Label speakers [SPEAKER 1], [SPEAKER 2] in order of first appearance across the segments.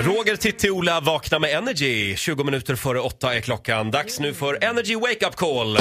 [SPEAKER 1] Roger, Titti, Ola, vakna med Energy. 20 minuter före åtta är klockan. Dags nu för Energy Wake Up Call.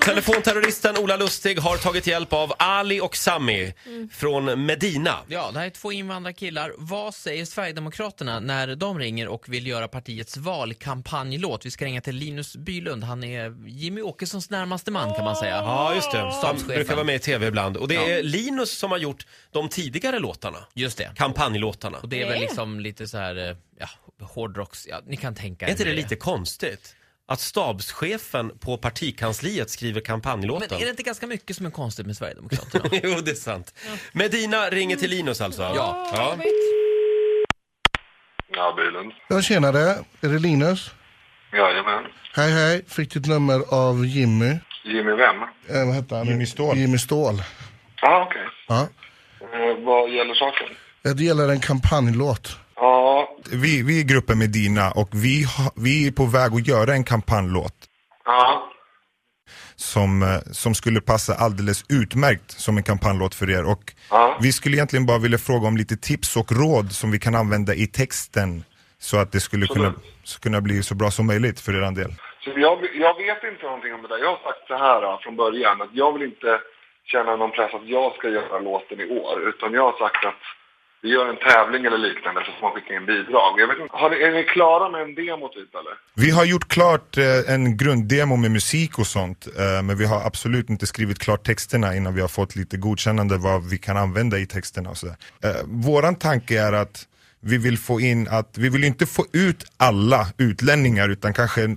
[SPEAKER 1] Telefonterroristen Ola Lustig har tagit hjälp av Ali och Sami
[SPEAKER 2] Mm.
[SPEAKER 1] från Medina.
[SPEAKER 2] Ja, det här är två invandrarkillar. Vad säger Sverigedemokraterna när de ringer och vill göra partiets valkampanjlåt? Vi ska ringa till Linus Bylund. Han är Jimmy Åkessons närmaste man kan man säga.
[SPEAKER 1] Ja, just det. Han
[SPEAKER 2] Stabschefen.
[SPEAKER 1] brukar vara med i tv ibland. Och det
[SPEAKER 2] Ja.
[SPEAKER 1] är Linus som har gjort de tidigare låtarna.
[SPEAKER 2] Just det.
[SPEAKER 1] Kampanjlåtarna.
[SPEAKER 2] Och det är väl liksom lite så här, eh, ja, hårdrocks... Ja, ni kan tänka
[SPEAKER 1] Är inte det
[SPEAKER 2] hur
[SPEAKER 1] lite konstigt? Att stabschefen på partikansliet skriver kampanjlåten.
[SPEAKER 2] Men är det inte ganska mycket som är konstigt med Sverigedemokraterna?
[SPEAKER 1] jo, det är sant. Medina ringer till Linus alltså?
[SPEAKER 2] Ja.
[SPEAKER 1] ja.
[SPEAKER 3] Ja, bilen.
[SPEAKER 4] Ja, tjenare. Är det Linus?
[SPEAKER 3] Jajamän.
[SPEAKER 4] Hej, hej. Fick ditt nummer av Jimmy.
[SPEAKER 3] Jimmy vem?
[SPEAKER 4] Eh, vad hette han?
[SPEAKER 5] Jimmy Ståhl.
[SPEAKER 4] Jimmy Ståhl.
[SPEAKER 3] Ja, okej.
[SPEAKER 4] Ja.
[SPEAKER 3] Eh, vad gäller saken?
[SPEAKER 4] Eh, Det gäller en kampanjlåt.
[SPEAKER 3] Ja,
[SPEAKER 5] Vi, vi är gruppen Medina och vi, ha, vi är på väg att göra en kampanjlåt
[SPEAKER 3] ja.
[SPEAKER 5] som, eh, som skulle passa alldeles utmärkt som en kampanjlåt för er. Och
[SPEAKER 3] Ja.
[SPEAKER 5] vi skulle egentligen bara vilja fråga om lite tips och råd som vi kan använda i texten så att det skulle kunna, så kunna bli så bra som möjligt för er del.
[SPEAKER 3] Så jag, jag vet inte någonting om det där. Jag har sagt så här ja, från början att jag vill inte känna någon press att jag ska göra låten i år. Utan jag har sagt att vi gör en tävling eller liknande så får man skicka in bidrag. Jag vet inte, har ni, är ni klara med en demo typ eller?
[SPEAKER 5] Vi har gjort klart eh, en grunddemo med musik och sånt eh, men vi har absolut inte skrivit klart texterna innan vi har fått lite godkännande vad vi kan använda i texterna och sådär. Eh, våran tanke är att vi vill få in att, vi vill inte få ut alla utlänningar utan kanske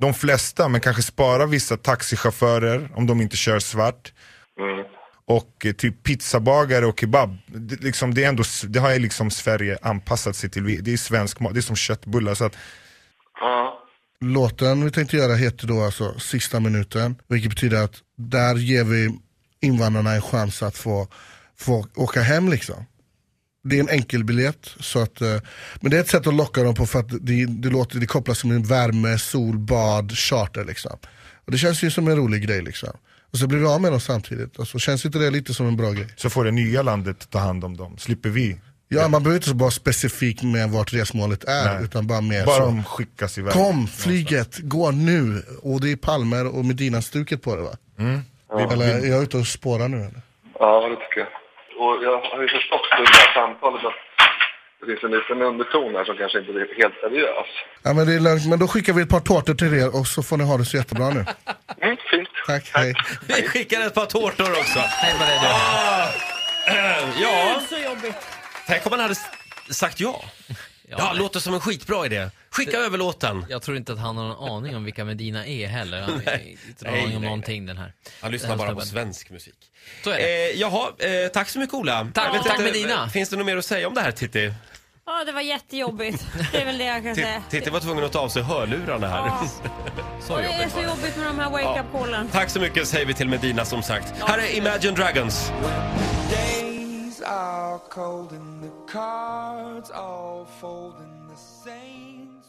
[SPEAKER 5] de flesta men kanske spara vissa taxichaufförer om de inte kör svart
[SPEAKER 3] Mm.
[SPEAKER 5] och eh, typ pizzabagare och kebab. Det, liksom, det, är ändå, s- det har ju liksom Sverige anpassat sig till, Vi- det är svensk mat, det är som köttbullar så att
[SPEAKER 3] Ja.
[SPEAKER 4] Låten vi tänkte göra heter då alltså Sista minuten, vilket betyder att där ger vi invandrarna en chans att få, få åka hem liksom. Det är en enkelbiljett, så att, eh, men det är ett sätt att locka dem på för att det, det, låter, det kopplas som en värme, sol, bad, charter liksom. Och det känns ju som en rolig grej liksom. Och så blir vi av med dem samtidigt, alltså, känns inte det lite som en bra grej?
[SPEAKER 5] så får det nya landet ta hand om dem, slipper vi.
[SPEAKER 4] Ja, man behöver inte vara specifik med vart resmålet är,
[SPEAKER 5] Nej.
[SPEAKER 4] utan bara mer
[SPEAKER 5] Bara
[SPEAKER 4] så.
[SPEAKER 5] de skickas iväg.
[SPEAKER 4] Kom, flyget, gå nu! Och det är palmer och Medina-stuket på det va? Eller är jag ute och spårar nu eller?
[SPEAKER 3] Ja, det tycker jag. Och jag har ju förstått under det här samtalet att det finns en liten underton här som kanske inte är helt seriös.
[SPEAKER 4] Ja men det är lugnt, men då skickar vi ett par tårtor till er och så får ni ha det så jättebra nu.
[SPEAKER 3] Mm, fint.
[SPEAKER 4] Tack, hej.
[SPEAKER 1] Vi skickar ett par tårtor också.
[SPEAKER 2] Nej, vad är det?
[SPEAKER 1] Ja,
[SPEAKER 6] Så jobbigt.
[SPEAKER 1] tänk om man hade s- sagt ja. Ja,
[SPEAKER 2] nej.
[SPEAKER 1] låter som en skitbra idé. Skicka över låten.
[SPEAKER 2] Jag tror inte att han har någon aning om vilka Medina är heller. Han har
[SPEAKER 1] Nej.
[SPEAKER 2] inte någon
[SPEAKER 1] Nej,
[SPEAKER 2] aning om
[SPEAKER 1] nej,
[SPEAKER 2] någonting den här.
[SPEAKER 1] Jag lyssnar
[SPEAKER 2] den här
[SPEAKER 1] bara på
[SPEAKER 2] snubben.
[SPEAKER 1] svensk musik.
[SPEAKER 2] Så är
[SPEAKER 1] Eh,
[SPEAKER 2] det.
[SPEAKER 1] jaha, eh, tack så mycket Ola.
[SPEAKER 2] Tack,
[SPEAKER 1] Jag vet
[SPEAKER 2] tack
[SPEAKER 1] inte,
[SPEAKER 2] Medina.
[SPEAKER 1] eh, Finns det något mer att säga om det här Titti?
[SPEAKER 6] Ja, det var jättejobbigt. Det är väl det jag kan
[SPEAKER 1] Titti,
[SPEAKER 6] säga.
[SPEAKER 1] Titti var tvungen att ta av sig hörlurarna här.
[SPEAKER 6] Ja.
[SPEAKER 1] Så
[SPEAKER 6] Och det är
[SPEAKER 1] jobbigt
[SPEAKER 6] så
[SPEAKER 1] var det.
[SPEAKER 6] jobbigt med de här wake-up-callen.
[SPEAKER 1] Tack så mycket säger vi till Medina som sagt. Här är Imagine Dragons.
[SPEAKER 7] Days are cold and the cards all fold and the saints